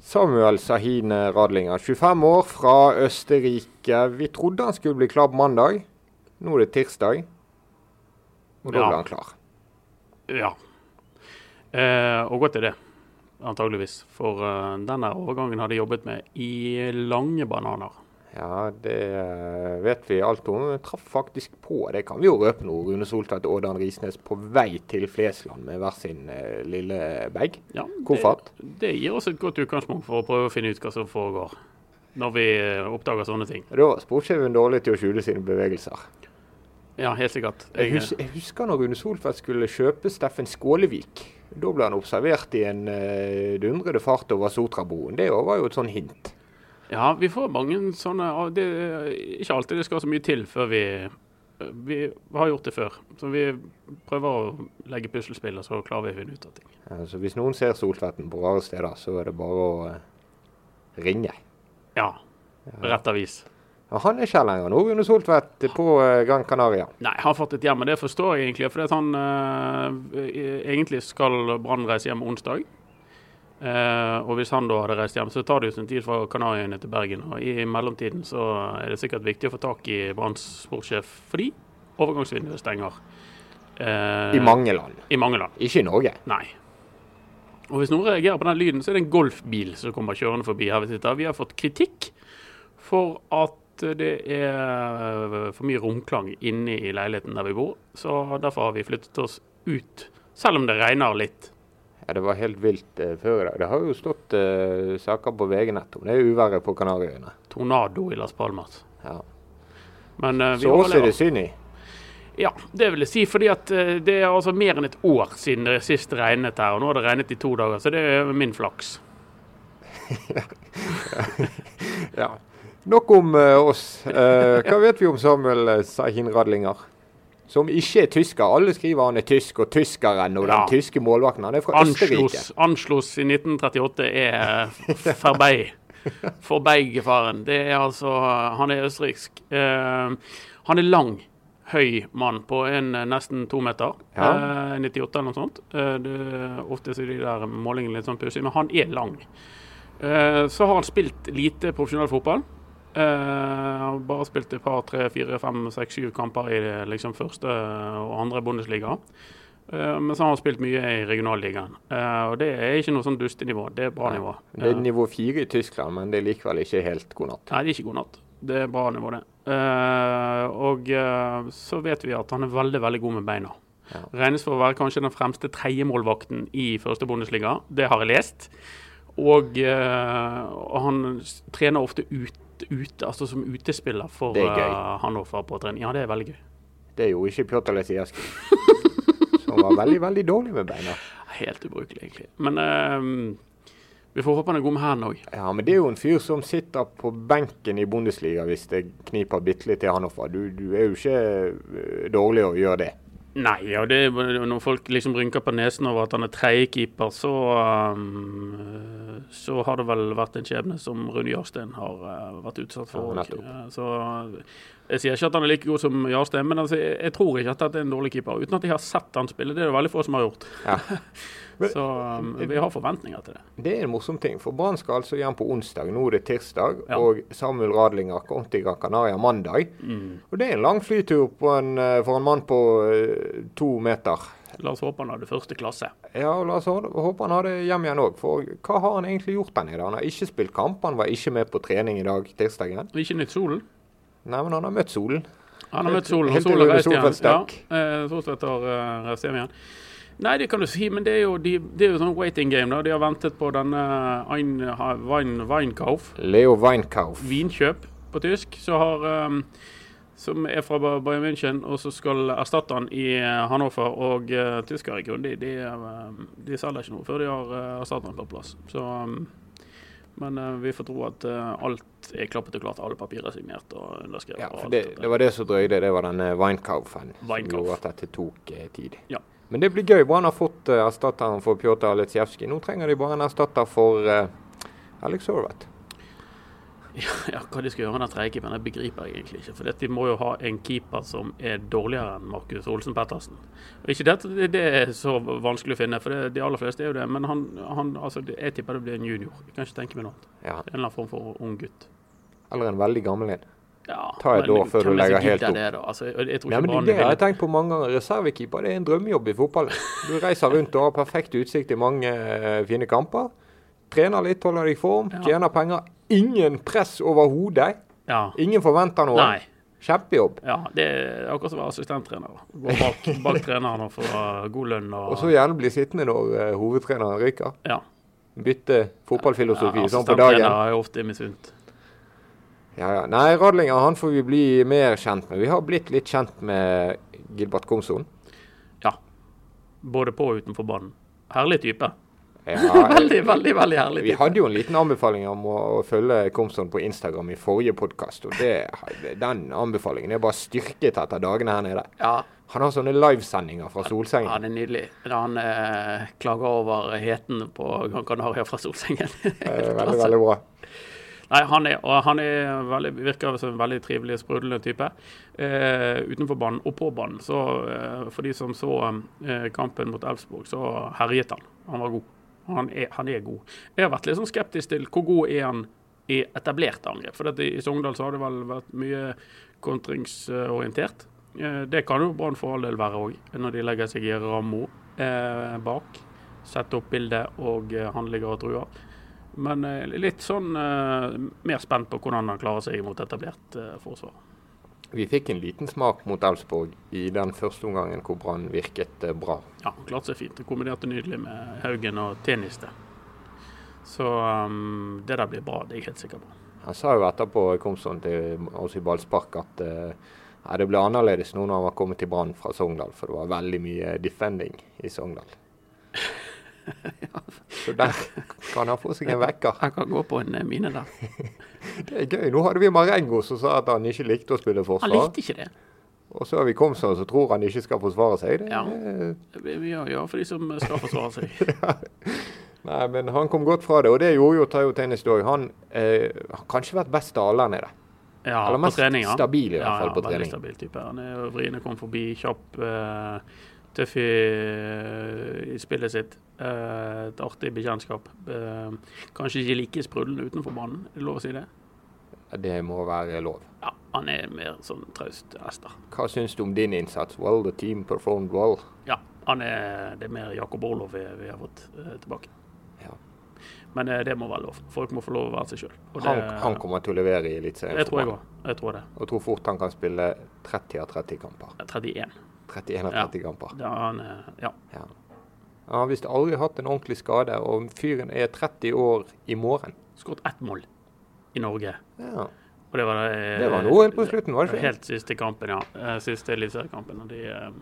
Samuel Sahine Radlinger, 25 år, fra Østerrike. Vi trodde han skulle bli klar på mandag. Nå er det tirsdag, og da Ja. ble han klar. Ja. Eh, og godt er det, antageligvis. For eh, denne overgangen hadde jeg jobbet med i lange bananer. Ja, det eh, vet vi alt om. Vi traff faktisk på, det kan vi jo røpe nå, Rune Soltvedt og Ådan Risnes på vei til Flesland med hver sin eh, lille bag. Ja, Koffert. Det, det gir oss et godt utgangspunkt for å prøve å finne ut hva som foregår. Når vi eh, oppdager sånne ting. Da var sportssjefen dårlig til å skjule sine bevegelser. Ja, helt sikkert. Jeg Jeg, eh, husker, jeg husker når Rune Soltvedt skulle kjøpe Steffen Skålevik. Da ble han observert i en eh, dundrede fart over Sotrabroen. Det var jo et sånn hint. ja, vi får mange sånne og Det er ikke alltid det skal så mye til før vi eh, Vi har gjort det før. Så vi prøver å legge puslespill, og så klarer vi å finne ut av ting. Ja, så Altså, hvis noen ser Soltvedten på rare steder, så er det bare å eh, ringe. Ja. Rett avis. Ja, han er ikke her lenger nå, Rune Soltvedt, på eh, Gran Canaria. Nei, han har fått et hjem, og det forstår jeg egentlig. Fordi at han eh, e- egentlig skal Brann reise hjem onsdag. Eh, og hvis han da hadde reist hjem, så tar det jo sin tid fra Kanariøyene til Bergen. Og i mellomtiden så er det sikkert viktig å få tak i Branns sportssjef fordi overgangsvinduet stenger. eh, I mange land. I mange land. Ikke i Norge. Nei. Og hvis noen reagerer på den lyden, så er det en golfbil som kommer kjørende forbi her vi sitter. Vi har fått kritikk for at det er eh, for mye romklang inne i leiligheten der vi bor, så derfor har vi flyttet oss ut. Selv om det regner litt. Ja, Det var helt vilt eh, før i dag. Det har jo stått eh, saker på VG nett om det er uværet på Kanariøyene. Tornado i Las Palmas. Ja. Men eh, vi Så oss er overlever. det synd i. Ja, det vil jeg si. fordi at eh, det er altså mer enn et år siden det sist regnet her. Og nå har det regnet i to dager, så det er min flaks. Ja. Nok om eh, oss. Eh, hva vet vi om Samuel eh, Sahin Radlinger? Som ikke er tysker. Alle skriver han er tysk, og tyskeren og Ja. den tyske målvakten. Han er fra Østerrike. Anschluss, anschluss i 1938 er eh, forbei. Forbeigefaren. Det er altså Han er østerriksk. Eh, han er lang, høy mann på en eh, nesten to meter. Ja. Eh, 98 eller noe sånt. Eh, det, ofte så er de der målingene litt sånn pussige, men han er lang. Eh, så har han spilt lite profesjonell fotball. Eh, han har bare spilt et par, tre, fire, fem, seks, syv kamper i det liksom første og andre Bundesliga. Eh, Men så har han spilt mye i regionalligaen. Eh, Og det er ikke noe sånn dustenivå, det er bra nivå. Det Eh, er nivå fire i Tyskland, men det er likevel ikke helt god natt. Nei, det er ikke god natt. Det er bra nivå, det. Eh, Og eh, så vet vi at han er veldig, veldig god med beina. Ja. Regnes for å være kanskje den fremste tredjemålvakten i første Bundesliga. Det har jeg lest. Og eh, og han s- trener ofte ut, ute, altså som utespiller for Det er gøy. eh, Hannover på trening. Ja, det er veldig gøy. Det er jo ikke Pjotr Lesijevskij. Som var veldig, veldig dårlig med beina. Helt ubrukelig, egentlig. Men eh, vi får håpe han er god med hendene òg. Ja, men det er jo en fyr som sitter på benken i Bundesliga hvis det kniper bitte litt til Hannover. Du, du er jo ikke eh, dårlig å gjøre det. Nei, ja, det er, jo- når folk liksom rynker på nesen over at han er tredjekeeper, så um, øh, Så har det vel vært en skjebne som Rune Jarstein har øh, vært utsatt for. Ja, og, nettopp. øh, så øh, jeg sier ikke at han er like god som Jarstein, men altså, jeg, jeg tror ikke at dette er en dårlig keeper. Uten at jeg har sett han spille, det er det veldig få som har gjort. Ja. Men- så øh, vi har forventninger til det. Det er en morsom ting, for Brann skal altså hjem på onsdag. Nå er det tirsdag. Ja. Og Samuel Radlinger kom til Gran Canaria mandag. Og det er en lang flytur på en, eh, for en mann på eh, to meter. La oss håpe han hadde første klasse. Ja, og la oss hå- håpe han har det hjem igjen òg. For hva har han egentlig gjort der nede? Han har ikke spilt kamp, han var ikke med på trening i dag, tirsdagen. Og Ikke nytt solen. Nei, men han har møtt solen. Han har Helt- møtt solen, og helt til solen Rune reiste igjen. Solfeldt stakk. Ja, eh, Solfeldt har eh, reist hjem igjen. Nei, det kan du si, men det er jo, de, det er jo sånn waiting game. da. De har ventet på denne Ein, ha- Wein, Weinkauf, Leo Weinkauf. vinkjøp på tysk, så har, eh, som er fra Ba- Bayern München, og så skal erstatte han i eh, Hannover. Og eh, tyskere er grundig, de, er, eh, de selger ikke noe før de har eh, erstatteren på plass. Så, eh, men eh, vi får tro at eh, alt er klappet og klart, alle papirer er signert og underskrevet. Ja, og for alt det, dette. det var det som drøyde. Det var denne Weinkauf-en som Weinkauf. gjorde at dette tok eh, tid. Ja. Men det blir gøy. Brann har fått eh, erstatteren for Pjotr Aletsjevskij. Nå trenger de bare en erstatter for eh, Alex Horvath. Ja, hva de skal gjøre med den tredje keeperen, det begriper jeg egentlig ikke. For det at de må jo ha en keeper som er dårligere enn Markus Olsen Pettersen. Og ikke det, at det er så vanskelig å finne, for det, de aller fleste er jo det. Men han, han altså, jeg tipper det blir en junior. Jeg kan ikke tenke meg noe annet. Ja. En eller annen form for ung gutt. Eller en veldig gammel en. Ja, Ta et men år før du hvem er det som legger helt gidder opp. Det, da? Altså, jeg, jeg tror Nei, ikke men Brann det har ville- jeg tenkt på mange ganger. Reservekeeper det er en drømmejobb i fotball. Du reiser rundt og har perfekt utsikt i mange eh, fine kamper. Trener litt, holder deg i form, Ja. tjener penger. Ingen press overhodet. ja. Ingen forventer noe. Nei. Kjempejobb. Ja, det er akkurat som å være assistenttrener. da. Gå bak, bak treneren og få uh, god lønn og, Og så gjerne bli sittende når eh, hovedtreneren ryker. ja. Bytte fotballfilosofi Ja, sånn på dagen. assistenttrener er ofte misunt. Ja, ja. Nei, Radlinger han får vi bli mer kjent med. Vi har blitt litt kjent med Gilbert Komson. Ja. Både på og utenfor banen. Herlig type. Ja, veldig, veldig veldig herlig vi type. hadde jo en liten anbefaling om å, å følge Komson på Instagram i forrige podkast, og det, den anbefalingen er bare styrket etter dagene her nede. Ja, Han har sånne livesendinger fra Solsengen. han er nydelig. Men Han eh, klager over heten på Gran Canaria fra Solsengen. Eh, Veldig, veldig bra. Nei, han er, og han er veldig, virker som en veldig trivelig, sprudlende type. Eh, utenfor banen og på banen. Så eh, for de som så eh, kampen mot Elfsborg, så herjet han. Han var god. Han er, han er god. Jeg har vært litt sånn skeptisk til hvor god er han i etablerte angrep. For dette, i Sogndal så har det vel vært mye kontringsorientert. Eh, det kan jo Brann for all del være òg, når de legger seg i rammo eh, bak. Setter opp bildet, og eh, han ligger og truer. Men eh, litt sånn eh, mer spent på hvordan han klarer seg mot etablert eh, forsvar. Vi fikk en liten smak mot Elfsborg i den første omgangen hvor Brann virket eh, bra. Ja, han klarte seg fint. Det kombinerte nydelig med Haugen og Tjeniste. Så ehm, det der blir bra, det er jeg helt sikker på. Han sa jo etterpå Komson til oss i ballspark at eh, ja, det ble annerledes nå når han var kommet til Brann fra Sogndal, for det var veldig mye defending i Sogndal. Så der kan han få seg en vekker. Jeg kan gå på en eh, mine der. Det er gøy. Nå hadde vi Marengo som sa at han ikke likte å spille Han forsvar. likte ikke det. Og så har vi Komson som tror han ikke skal forsvare seg. Det, Ja. Vi vi gjør ja, for de som skal forsvare seg. Nei, men han kom godt fra det, og det gjorde jo Tayo Tennis òg. Han eh, har kanskje vært best av alle nede. Ja, Eller på mest trening, ja. stabil i hvert fall ja, på veldig trening. stabil type. Han er vriene kom forbi, kjapp, eh, tøff i, i spillet sitt. Eh, et artig bekjentskap. Eh, kanskje ikke like sprudlende utenfor banen, er det lov å si det? Det må være lov. Ja, han er mer sånn traust hester. Hva syns du om din innsats? Well, the team performed well. Ja, han er, det er mer Jakob Orlov vi, vi har fått eh, tilbake. Ja. Men eh, det må være lov. Folk må få lov å være seg sjøl. Han, han kommer til å levere i Eliteserien. Det for tror jeg Brann. òg. Jeg tror det. Og tror fort han kan spille 30 av 30 kamper. 31. 31 av Ja. 30 kamper. Da han, eh, ja. Ja. Han har visst aldri hatt en ordentlig skade, og fyren er 30 år i morgen. Skåret ett mål i Norge. Ja. Og det var, eh, Det var noe helt på slutten, var det ikke? Helt siste kampen, ja. Eh, Siste eliteseriekampen. Og de eh,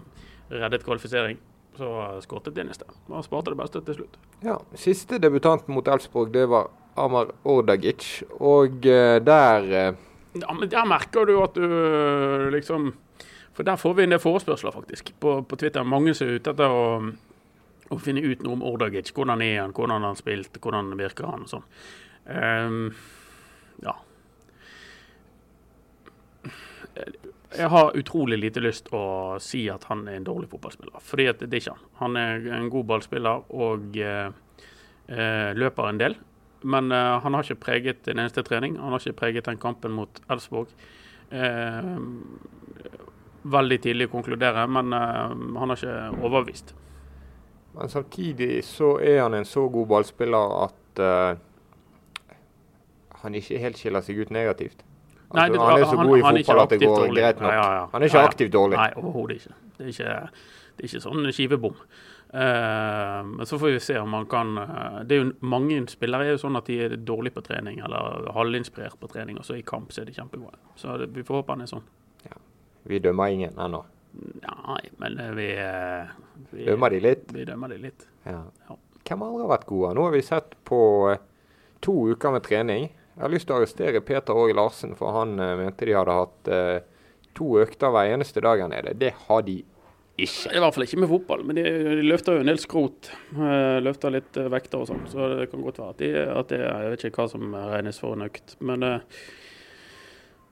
reddet kvalifisering. Så eh, skåret det neste. Og sparte det beste til slutt. Ja. Siste debutanten mot Elfsborg, det var Amar Ordagic. Og eh, der eh, Ja, men Der merker du at du liksom For der får vi en del forespørsler, faktisk, på, på Twitter. Mange som er ute etter å, å finne ut noe om Ordagic. Hvordan er han, hvordan har han spilt, hvordan virker han og sånn. Ehm, ja. Jeg har utrolig lite lyst å si at han er en dårlig fotballspiller, fordi at det er ikke han. Han er en god ballspiller og eh, eh, løper en del. Men eh, han har ikke preget en eneste trening. Han har ikke preget den kampen mot Elfsborg. Eh, veldig tidlig å konkludere, men eh, han har ikke overbevist. Men samtidig så er han en så god ballspiller at eh, han ikke helt skiller seg ut negativt. Altså, Nei, det- han er så god i han er ikke fotball at det aktivt går dårlig. greit nok. Ja, ja, ja. Han er ikke Ja, ja. aktivt dårlig. Nei, overhodet ikke. Det er ikke, det er ikke sånn skivebom. Eh, Men så får vi se om han kan eh, Det er jo Mange spillere er jo sånn at de er dårlige på trening, eller halvinspirert på trening, og så i kamp så er de kjempegode. Så det, vi får håpe han er sånn. Vi dømmer ingen ennå. Nei, men eh, vi, eh, vi Dømmer de litt? Vi dømmer de litt. Ja. Ja. Hvem andre har vært gode? Nå har vi sett på eh, to uker med trening. Jeg har lyst til å arrestere Peter Åge Larsen, for han eh, mente de hadde hatt eh, to økter hver eneste dag her nede. Det har de ikke. I hvert fall ikke med fotball, men de, de løfter jo en del skrot. eh, Løfter litt eh, vekter og sånn, så det kan godt være at, de, at det Jeg vet ikke hva som regnes for en økt, men eh,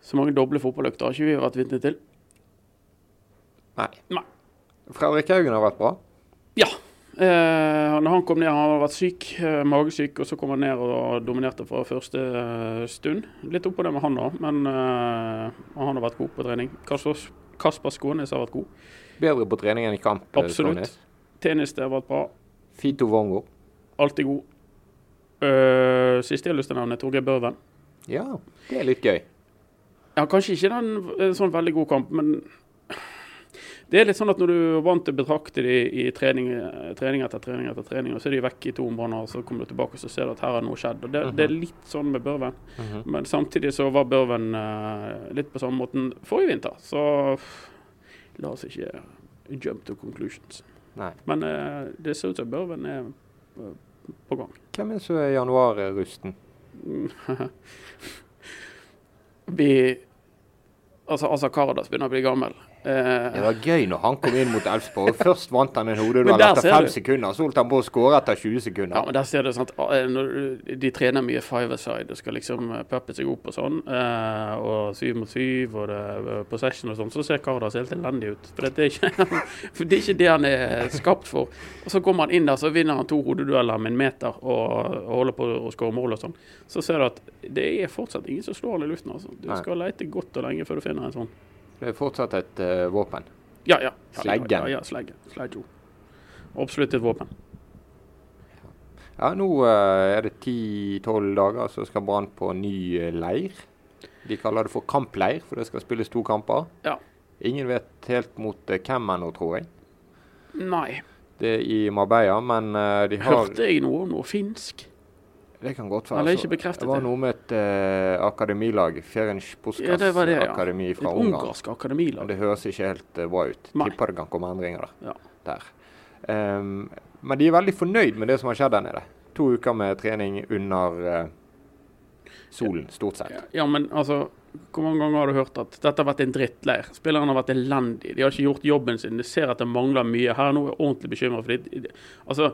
så mange doble fotballøkter har ikke vi vært vitne til. Nei. Nei. Fredrik Haugen har vært bra. Ja. Eh, når han kom ned, han har vært syk, eh, magesyk, og så kom han ned og dominerte fra første eh, stund. Litt oppå det med han òg, men eh, han har vært god på trening. Kasper, Kasper Skånes har vært god. Bedre på trening enn i kamp. eh, Absolutt. Skånes. Tennis det har vært bra. Fito Vongo. Alltid god. Eh, siste jeg har lyst til å nevne, er Torgeir Børven. Ja, det er litt gøy. Ja, kanskje ikke den en sånn veldig god kamp, men det er litt sånn at når du er vant til å betrakte de i trening, trening etter trening etter trening, og så er de vekk i to områder, og så kommer du tilbake og så ser du at her har noe skjedd. Og det, det er litt sånn med Børven. Men samtidig så var Børven eh, litt på samme måten forrige vinter, så pff, la oss ikke jump to conclusions. Nei. Men eh, det ser ut som Børven er eh, på gang. Hvem er så er januarrusten? Vi Altså, altså Karadas begynner å bli gammel. Eh, Det var gøy når han kom inn mot Elfsborg. Først vant han en hodeduell Men der etter ser fem du. sekunder, så holdt han på å skåre etter 20 sekunder. Ja, men der ser du sant, eh, når du- De trener mye five-a-side og skal liksom eh, peppe seg opp og sånn. eh, Og syv mot syv og det, eh, possession og sånn. Så ser Kardas helt elendig ut. For det, er ikke, for det er ikke det han er skapt for. Og så kommer han inn der, så vinner han to hodedueller med en meter og, og holder på å skåre mål og sånn. Så ser du at det er fortsatt ingen som slår han i luften. Altså. Du Nei. skal lete godt og lenge før du finner en sånn. Det er fortsatt et eh, våpen. Ja, ja. ja, Sleggen. Ja, ja, sleggen. Sledgeho. Absolutt et våpen. Ja, nå eh, er det 10-12 dager, så skal Brann på ny eh, leir. De kaller det for kampleir, for det skal spilles to kamper. Ja. Ingen vet helt mot eh, hvem ennå, tror jeg. Nei. Det er i Marbella, men eh, de har Hørte jeg noe om noe finsk? Det kan godt være. Eller så- ikke bekreftet det var det. noe med et eh, akademilag, Ferenc Ja, Puskas det var det, ja. akademi fra Et Ungarn. ungarsk Men akademilag. det høres ikke helt eh, bra ut. Nei. Tipper det kan komme endringer da, Ja. der. Ehm, men de er veldig fornøyd med det som har skjedd der nede. To uker med trening under eh, solen, stort sett. Ja, men altså Hvor mange ganger har du hørt at dette har vært en drittleir? Spillerne har vært elendige. De har ikke gjort jobben sin. De ser at det mangler mye. Her nå er jeg ordentlig bekymra for de- de- Altså,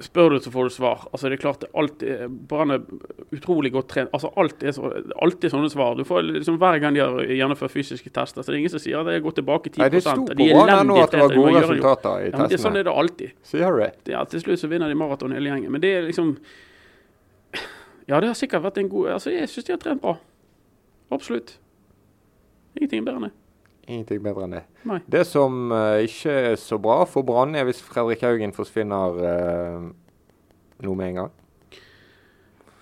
spør du, så får du svar. Altså, det er klart det er alltid Brann er utrolig godt trent. Altså, alt er så, alltid sånne svar. Du får liksom Hver gang de har gjennomført fysiske tester, så det er ingen som sier at de har gått tilbake 10 Nei, det sto De på er banen nå elendige at det var tretere, de må gode gjøre en jobb. resultater i Ja, men det, er sånn testene. er det alltid. Sier du det? det, ja, til slutt så vinner de maraton hele gjengen. Men det er liksom Ja, det har sikkert vært en god Altså, jeg syns de har trent bra. Absolutt. Ingenting er bedre enn det. Ingenting bedre enn det. Nei. Det som eh, ikke er så bra for Brann, er hvis Fredrik Haugen forsvinner eh, nå med en gang.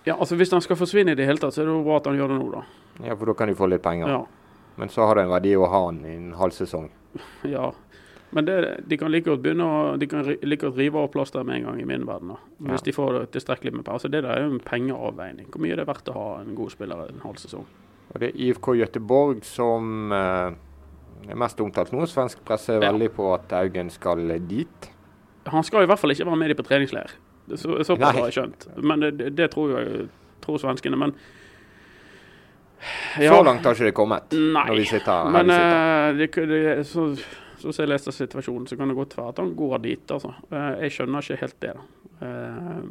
Ja, altså Hvis han skal forsvinne i det hele tatt, så er det jo bra at han gjør det nå, da. Ja, for da kan de få litt penger. Ja. Men så har det en verdi å ha han i en halv sesong. ja. Men det, de kan like godt begynne å, de kan ri- like godt rive av plasteret med en gang, i min verden. da. Hvis Ja. de får tilstrekkelig med penger. Altså, det der er jo en pengeavveining. Hvor mye er det verdt å ha en god spiller en halv sesong? Og det er IFK Göteborg som eh, er mest omtalt nå. Svensk presse er Ja. veldig på at Haugen skal dit. Han skal i hvert fall ikke være med de på treningsleir. Det- Så, Nei. såpass har jeg skjønt. Men det, det- det tror jo tror svenskene, men Så langt har ikke det kommet. Nei. når vi sitter her Men vi sitter. eh, det, kunne- det, så, så som jeg leste situasjonen, så kan det godt være at han går dit, altså. Eh, jeg skjønner ikke helt det, da. Eh,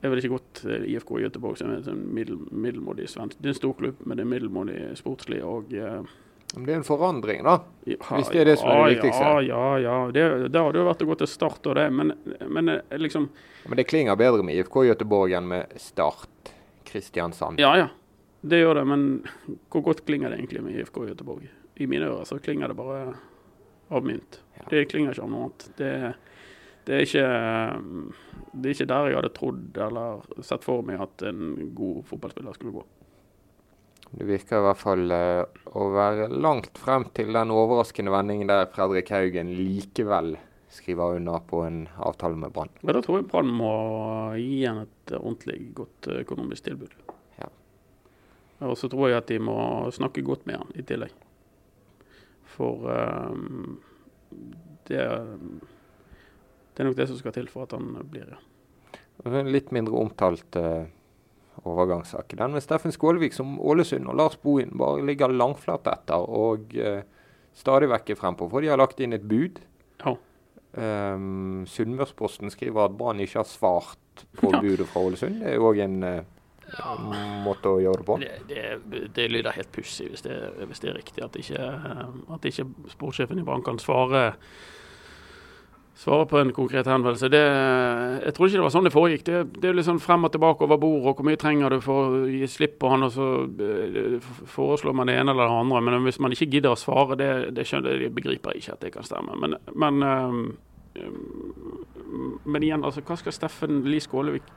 det er vel ikke godt eh, IFK Göteborg som er en sånn middel, middelmådig svensk Det er en stor klubb, men det er middelmådig sportslig og eh, Men det er en forandring, da. ja, Hvis det er det som er det viktigste. Ja, ja, ja. Det, det hadde jo vært å gå til start og det, men, men eh, liksom Men det klinger bedre med IFK Göteborg enn med Start Kristiansand. Ja, ja. Det gjør det, men hvor godt klinger det egentlig med IFK Göteborg? I mine ører så klinger det bare av mynt. Det klinger ikke av noe annet. Det, det, er ikke, um, det er ikke der jeg hadde trodd eller sett for meg at en god fotballspiller skulle gå. Det virker i hvert fall eh, å være langt frem til den overraskende vendingen der Fredrik Haugen likevel skriver under på en avtale med Brann. Men da tror jeg Brann må gi han et ordentlig godt eh, økonomisk tilbud. Ja. Og så tror jeg at de må snakke godt med han i tillegg. For um, det, det er nok det som skal til for at han blir ja. Og En litt mindre omtalt eh, overgangssak. Den med Steffen Skålvik som Ålesund og Lars Bohin bare ligger langflat etter. Og eh, stadig vekk frempå, for de har lagt inn et bud. Ja. Um, Sunnmørsposten skriver at Brann ikke har svart på Ja. budet fra Ålesund. Det er jo òg en eh, måte å gjøre det på. Det, det, det lyder helt pussig hvis, det- hvis det er riktig at ikke, eh, at ikke sportssjefen i Brann kan svare Svare på en konkret henvendelse. Det, jeg tror ikke det var sånn det foregikk. Det, det er litt sånn frem og tilbake over bordet, og hvor mye trenger du for å gi slipp på han, og så eh, f- foreslår man det ene eller det andre. Men hvis man ikke gidder å svare, det, det skjønner jeg, jeg begriper ikke at det kan stemme. Men, men, eh, eh, men igjen, altså, hva skal Steffen Lie Skålevik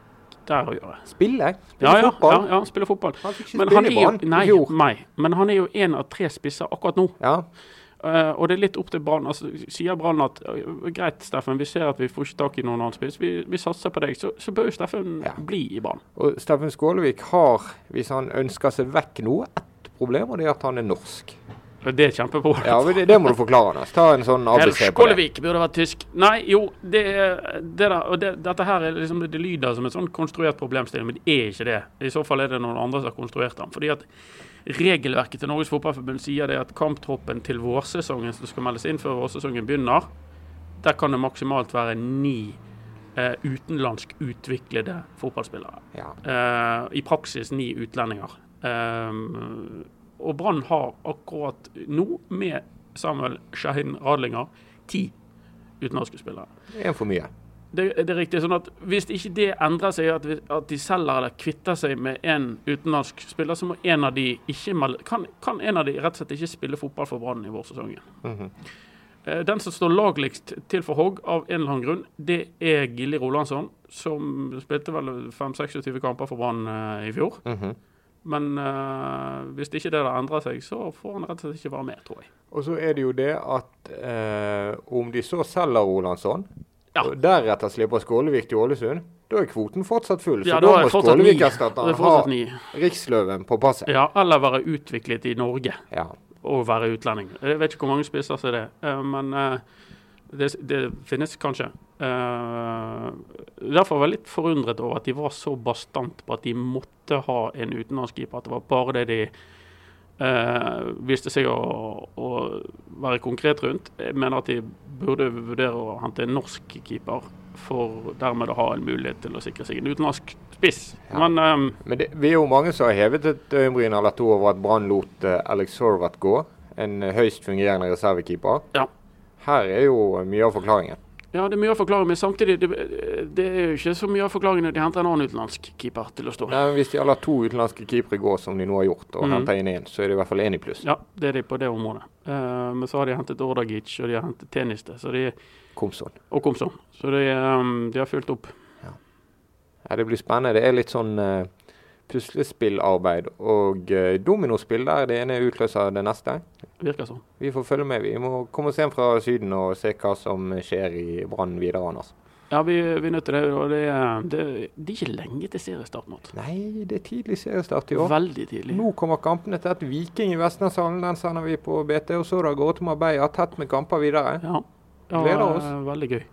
der å gjøre? Spille? Spille Ja, ja, fotball? ja, ja, spille fotball. Han fikk ikke Men han spille er i jo, Brann nei, i fjor. nei, men han er jo en av tre spisser akkurat nå. Ja. Eh, og det er litt opp til Brann. Altså, sier Brann at «Øh, greit, Steffen, vi ser at vi får ikke tak i noen annen spiss, vi, vi satser på deg, så, så bør jo Steffen Ja. bli i Brann. Og Steffen Skålevik har, hvis han ønsker seg vekk noe, ett problem, og det er at han er norsk. Det er kjempeproblem. Ja, men det, det må du forklare, Anders. Ta en sånn Herr ABC på det. Skålevik burde vært tysk. Nei, jo, det, er- det der, og det, dette her er liksom, det lyder som en sånn konstruert problemstilling, men det er ikke det. I så fall er det noen andre som har konstruert den. Fordi at regelverket til Norges Fotballforbund sier det at kamptroppen til vårsesongen som skal meldes inn før vårsesongen begynner, der kan det maksimalt være ni eh, utenlandsk utviklede fotballspillere. Ja. Eh, I praksis ni utlendinger. Ehm, og Brann har akkurat nå, med Samuel Shahin Radlinger, ti utenlandske spillere. En for mye. Det, det er riktig. sånn at Hvis ikke det endrer seg, at, vi, at de selger eller kvitter seg med en utenlandsk spiller, så må en av de ikke melde, kan, kan en av de rett og slett ikke spille fotball for Brann i vårsesongen. Mhm. Eh, Den som står lagligst til for hogg av en eller annen grunn, det er Gilly Rolandsson, som spilte vel 5-26 kamper for Brann eh, i fjor. Mhm. Men eh, hvis ikke det der endrer seg, så får han rett og slett ikke være med, tror jeg. Og så er det jo det at eh, om de så selger Rolandsson, Ja. og deretter slipper Skålevik til Ålesund, da er kvoten fortsatt full. Så Ja, da da må er det fortsatt ni. Da er Skålevik-erstatteren det ha fortsatt ni. Riksløven på passet. Ja, eller være utviklet i Norge Ja. og være utlending. Jeg vet ikke hvor mange spisser som er det, eh, men eh, det, det finnes kanskje. Eh, derfor var jeg litt forundret over at de var så bastant på at de måtte ha en utenlandsk keeper. At det var bare det de eh, viste seg å, å være konkret rundt. Jeg mener at de burde vurdere å hente en norsk keeper, for dermed å ha en mulighet til å sikre seg en utenlandsk spiss. Ja. Men ehm, Men det, vi er jo mange som har hevet et øyenbryn eller to over at Brann lot eh, Alex Sorvat gå. En eh, høyst fungerende reservekeeper. Ja. Her er jo mye av forklaringen. Ja, det er mye å forklare, men samtidig det, det er jo ikke så mye å forklare når de henter en annen utenlandsk keeper til å stå. Nei, men Hvis de har latt to utenlandske keepere gå, som de nå har gjort, og Mhm. henter inn én, så er det i hvert fall én i pluss. Ja, det er de på det området. Eh, men så har de hentet Ordagic, og de har hentet Teniste så de, Komson. og Komsom. Så de, eh, de har fulgt opp. Ja, det blir spennende. Det er litt sånn eh, puslespillarbeid og eh, dominospill der det ene utløser det neste. Virker sånn. Vi får følge med. Vi må komme oss hjem fra Syden og se hva som skjer i Brann videre, Anders. Ja, vi, vi er nødt til det. Og det, er- det, det er ikke lenge til seriestart, Mart. Nei, det er tidlig seriestart i år. Veldig tidlig. Nå kommer kampene til et Viking i Vestlandshallen. Den sender vi på BT. Og så da går til Marbella tett med kamper videre. Ja. ja Gleder oss. eh, Veldig gøy.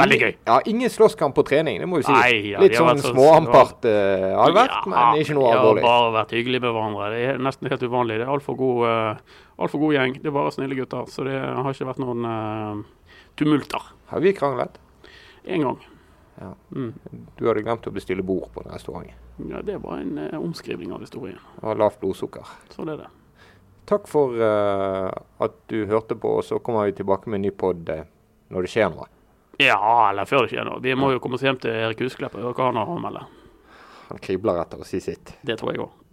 Veldig gøy. Ja, ingen slåsskamp på trening, det må vi si. Nei, ja, Litt de har sånn vært så- småampart eh, har det vært, men ikke noe De alvorlig. har bare vært hyggelige med hverandre. Det er nesten helt uvanlig. Det er altfor god, eh, alt for god gjeng. Det er bare snille gutter. Så det har ikke vært noen eh, tumulter. Har vi kranglet? Én gang. Ja. Mm. Du hadde glemt å bestille bord på en restaurant. Ja, det var en eh, omskrivning av historien. Og lavt blodsukker. Sånn er det. Takk for eh, at du hørte på, og så kommer vi tilbake med en ny pod eh, når det skjer noe. Ja, eller før det skjer noe. Vi må jo komme oss hjem til Erik Husklepp og høre hva han har å melde. Han kribler etter å si sitt. Det tror jeg òg.